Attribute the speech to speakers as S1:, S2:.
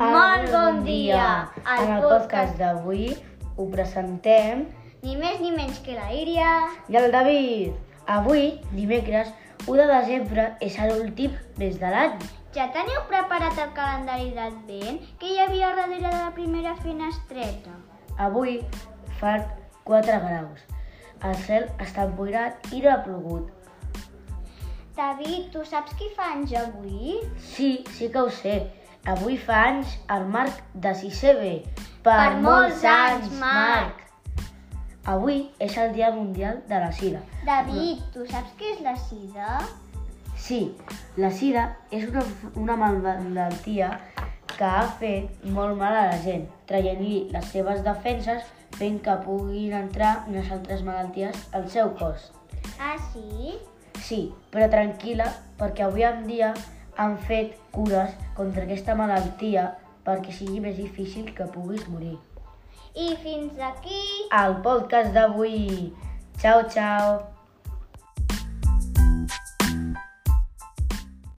S1: bon dia. Al
S2: En el podcast d'avui ho presentem
S1: Ni més ni menys que la Iria.
S2: i el David. Avui, dimecres, 1 de desembre és l'últim mes de l'any.
S1: Ja teniu preparat el calendari d'advent que hi havia darrere de la primera finestreta?
S2: Avui fan 4 graus. El cel està emboirat i no ha plogut.
S1: David, tu saps qui fa anys avui?
S2: Sí, sí que ho sé. Avui fa anys el Marc de 6CB.
S1: Per molts anys, Marc.
S2: Avui és el Dia Mundial de la Sida.
S1: David, tu saps què és la sida?
S2: Sí, la sida és una, una malaltia que ha fet molt mal a la gent, traient-li les seves defenses, fent que puguin entrar unes altres malalties al seu cos.
S1: Ah, sí?
S2: Sí, però tranquil·la, perquè avui en dia han fet cures contra aquesta malaltia perquè sigui més difícil que puguis morir.
S1: I fins aquí...
S2: El podcast d'avui. Ciao, ciao!